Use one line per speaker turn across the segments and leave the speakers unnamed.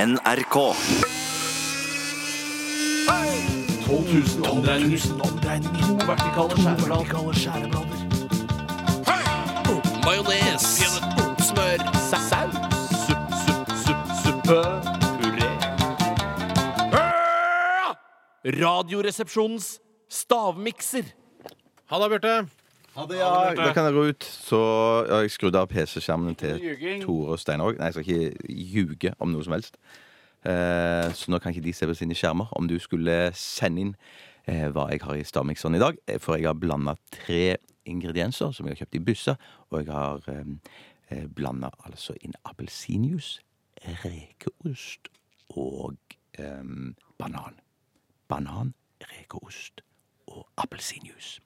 NRK.
12 000 omdreininger. To vertikale skjæreblader. Majones. Smør. Saus. Supp, supp, supp, suppe. Puré. Ah! Radioresepsjonens stavmikser.
Ha det, Bjarte.
Da kan jeg gå ut. Så har jeg skrudd av PC-skjermen til Tore og Steinar òg. Nei, jeg skal ikke ljuge om noe som helst. Eh, så nå kan ikke de se på sine skjermer om du skulle sende inn eh, hva jeg har i stavmikseren i dag. Eh, For jeg har blanda tre ingredienser som jeg har kjøpt i busser, og jeg har eh, blanda altså inn appelsinjuice, rekeost og eh, banan. Banan, rekeost og appelsinjuice.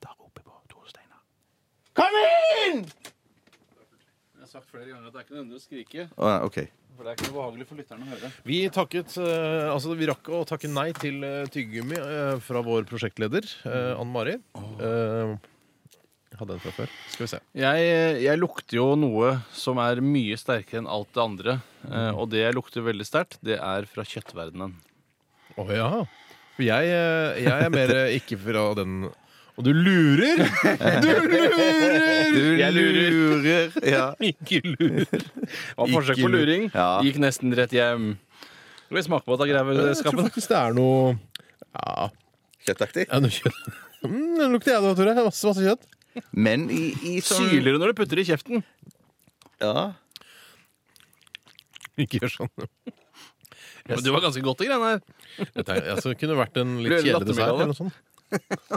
Da roper jeg på Tore og Steinar.
Jeg har sagt flere ganger at det er ikke nødvendig å skrike.
Å, ja, ok.
For det er ikke noe behagelig for lytterne å høre.
Vi takket, eh, altså vi rakk å takke nei til eh, tyggegummi eh, fra vår prosjektleder, eh, Anne Mari. Eh, hadde den fra før. Skal vi se.
Jeg, jeg lukter jo noe som er mye sterkere enn alt det andre. eh, Og det jeg lukter veldig sterkt, det er fra kjøttverdenen.
Å ja. For jeg, eh, jeg er mer eh, ikke fra den Og du lurer! Du lurer!
Du
Jeg lurer.
Ja.
Ikke lurer.
Var forsøk på
Ikke lurt.
luring.
Ja.
Gikk nesten rett hjem. Skal vi smake på dette
Jeg tror
graveskapen?
faktisk det er noe Ja,
Kjøttaktig.
ja noe kjøtt. Mm, det lukter jeg da, Tore. Masse, masse kjøtt.
Men i, i sånn
Syrligere når du putter det i kjeften.
Ja.
Ikke gjør sånn.
Men det var ganske godt, de greiene her.
Dette er- altså, det kunne vært en litt
Blir det
kjedelig dessert.
lattermiddag, da?
Eller noe sånt.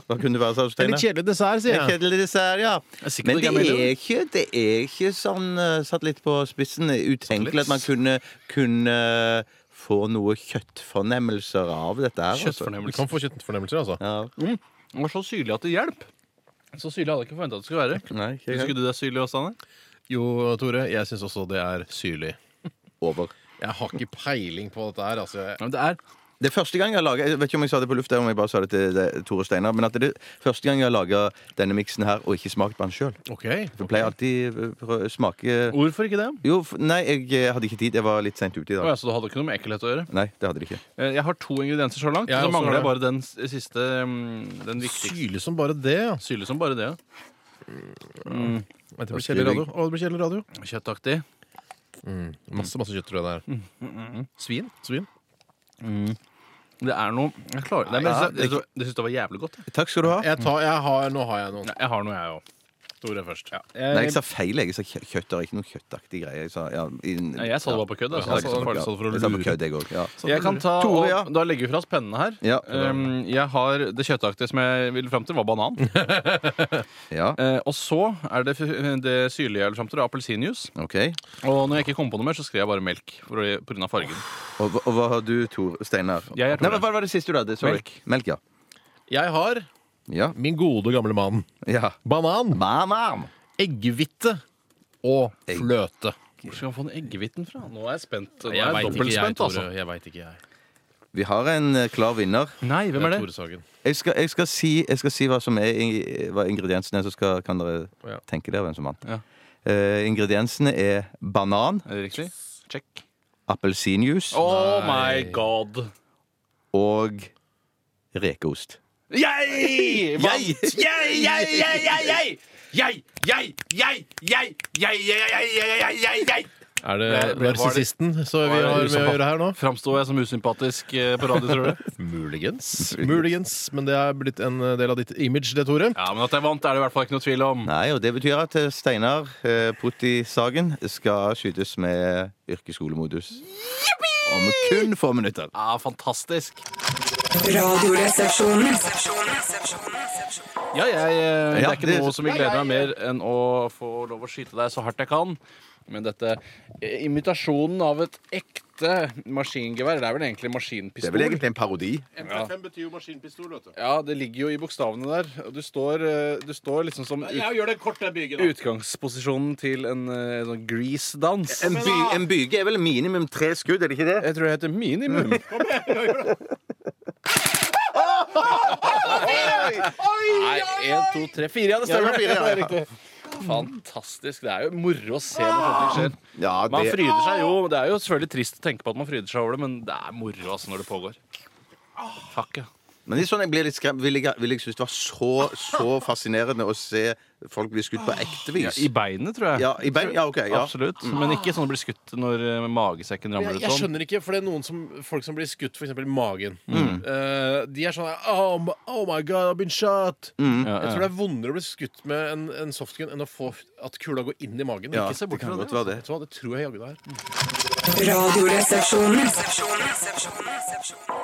Hva kunne det være, sa du,
En
Steinar?
litt kjedelig dessert, sier
En
jeg.
Kjedelig dessert, ja.
er sikkert
Men
ikke
det
jeg mener
er
det.
ikke, det er ikke sånn eh, satt litt på spissen utenkelig at man kunne, kunne få noe kjøttfornemmelser av dette her. altså.
Du
Kjøttfornemmelse.
kan få kjøttfornemmelser, altså.
Ja.
Det Liksom. var så syrlig at det hjelp. Så syrlig hadde jeg ikke forventa at det skulle være.
Nei, ikke
Husker
helt.
du det er syrlig også, Anne?
Jo, Tore, jeg syns også det er syrlig.
Over.
Jeg har ikke peiling på dette her. Altså. Jeg-
Ja, men det er
Det er første gang jeg har laget, Jeg vet ikke om jeg sa det på lufta, om jeg bare sa det til det- Tore Steinar, men at det er første gang jeg har laga denne miksen her og ikke smakt på den sjøl.
Ok.
Jeg pleier alltid eh, prø- smake
Hvorfor ikke det?
Jo, f- nei, jeg eh, hadde ikke tid. Jeg var litt seint ute i
Å,
dag.
ja, så det hadde ikke noe med ekkelhet å gjøre?
Nei, det hadde de ikke.
Eh, Jeg har to ingredienser så langt.
Jeg
så
også
mangler
har
jeg
det.
bare den s- siste. mm, Den viktigste.
Syrlig som bare det, ja.
Syle som bare det. ja.
Det blir kjedelig radio. Å, det blir kjedelig radio.
Kjøttaktig.
Masse masse kjøtt, tror jeg det er. Svin. Svin.
Det er noe Jeg klarer Nei, men
Ja,
jeg synes det. Jeg tror- jeg syns det var jævlig godt. jeg.
Takk skal du ha.
Jeg tar, jeg har, nå har jeg noen.
Nei, Jeg har noe, jeg òg.
Tore først.
Nei,
Eh,
jeg sa feil. Jeg sa kjø- kjøtt. Det er ikke noe kjøttaktig greie. Jeg sa, ja, i,
Nei, jeg sa det bare på kødd.
Ja,
Altså.
jeg
Jeg,
sa det
jeg,
på kødd. Jeg sa det på kødd, jeg òg. Ja.
jeg kan ta
Tore,
og,
ja.
Da legger vi fra oss pennene her.
Ja.
Um, jeg har Det kjøttaktige som jeg ville fram til, var banan.
ja.
Eh, og så er det f- det syrlige jeg ville fram til, det er appelsinjuice.
OK.
Og når jeg ikke kom på noe mer, så skrev jeg bare melk pga. fargen.
Og, hva- og hva har du, Tor Steinar?
Jeg er Tore.
Nei, men Hva var det siste du hadde? Sorry.
Melk.
Melk, ja.
Jeg har
ja.
min gode, gamle mann.
ja.
Banan,
Banan.
eggehvite og fløte.
Hvor skal man få den eggehviten fra? Nå er jeg spent. Nå er
Jeg
jeg
veit ikke,
dobbelt
jeg,
spent,
Tore.
altså.
Jeg vet ikke, jeg.
Vi har en eh, klar vinner.
Nei, hvem er
Det er
det?
Tore Sagen.
Jeg skal, jeg skal, si, jeg skal si hva som er ing- hva ingrediensene er, så skal, kan dere
Ja.
tenke dere hvem som vant.
Ja.
Eh, ingrediensene er banan,
Er det riktig? Check.
appelsinjuice
Oh my god.
og rekeost.
Jeg! vant! Jeg, jeg, jeg, jeg, jeg! Jeg, jeg, jeg, jeg, jeg, jeg, jeg, jeg, jeg, jeg, jeg!
Er
Det-
det
det var det-
narsissisten som vi
det
har med
liksom-
å gjøre her nå?
Framstår jeg som usympatisk eh, på radio, tror du?
Muligens. Muligens, Men det er blitt en eh, del av ditt image, det, Tore.
Ja, men at jeg vant, er det i hvert fall ikke noe tvil om.
Nei, og det betyr at eh, Steinar eh, Putti Sagen skal skytes med yrkesskolemodus. Om kun få minutter.
Ja, fantastisk.
Radioresepsjonen.
Ja, jeg, eh, det
Ja,
er ikke
det-
noe som vil glede meg mer enn å få lov å skyte deg så hardt jeg kan. Men dette eh, imitasjonen av et ekte maskingevær Det er vel egentlig maskinpistol?
en parodi.
MP5 betyr jo maskinpistol, vet du.
Ja, det ligger jo i bokstavene der. Og du står, eh, du står liksom som ut,
gjør det kort, jeg bygger
utgangsposisjonen til en eh, sånn grease-dans.
En, by, en byge er vel minimum tre skudd, er det ikke det?
Jeg tror det heter minimum. Nei, én, to, tre, fire. Ja, det stemmer.
Ja, det var fire, ja.
Det er riktig. fantastisk. Det er jo moro å se når sånne ting skjer.
Ah. Ja,
Man
det,
fryder seg jo. Det er jo selvfølgelig trist å tenke på at man fryder seg over det, men det er moro altså når det pågår. Fuck, ja.
men det er sånn jeg blir litt skremt. Vil jeg, vil jeg synes det var så, så fascinerende å se folk bli skutt på ekte vis?
I beinet, tror jeg.
Ja, i bein? Ja, OK. Ja. Mm.
Absolutt. Men ikke sånn å bli skutt når eh, magesekken ramler ut
Jeg, jeg
sånn.
skjønner ikke, for det er noen som, folk som blir skutt for eksempel i magen. Eh, de er sånn oh, my- oh my god, I've been shot!
Ja,
Jeg
ja.
tror det er vondere å bli skutt med en, en softgun enn å få at kula går inn i magen.
Ja,
Ikke se
det
bort
kan
fra
godt være det.
Vet du hva, det tror jeg jaggu det er.
Radioresepsjonen.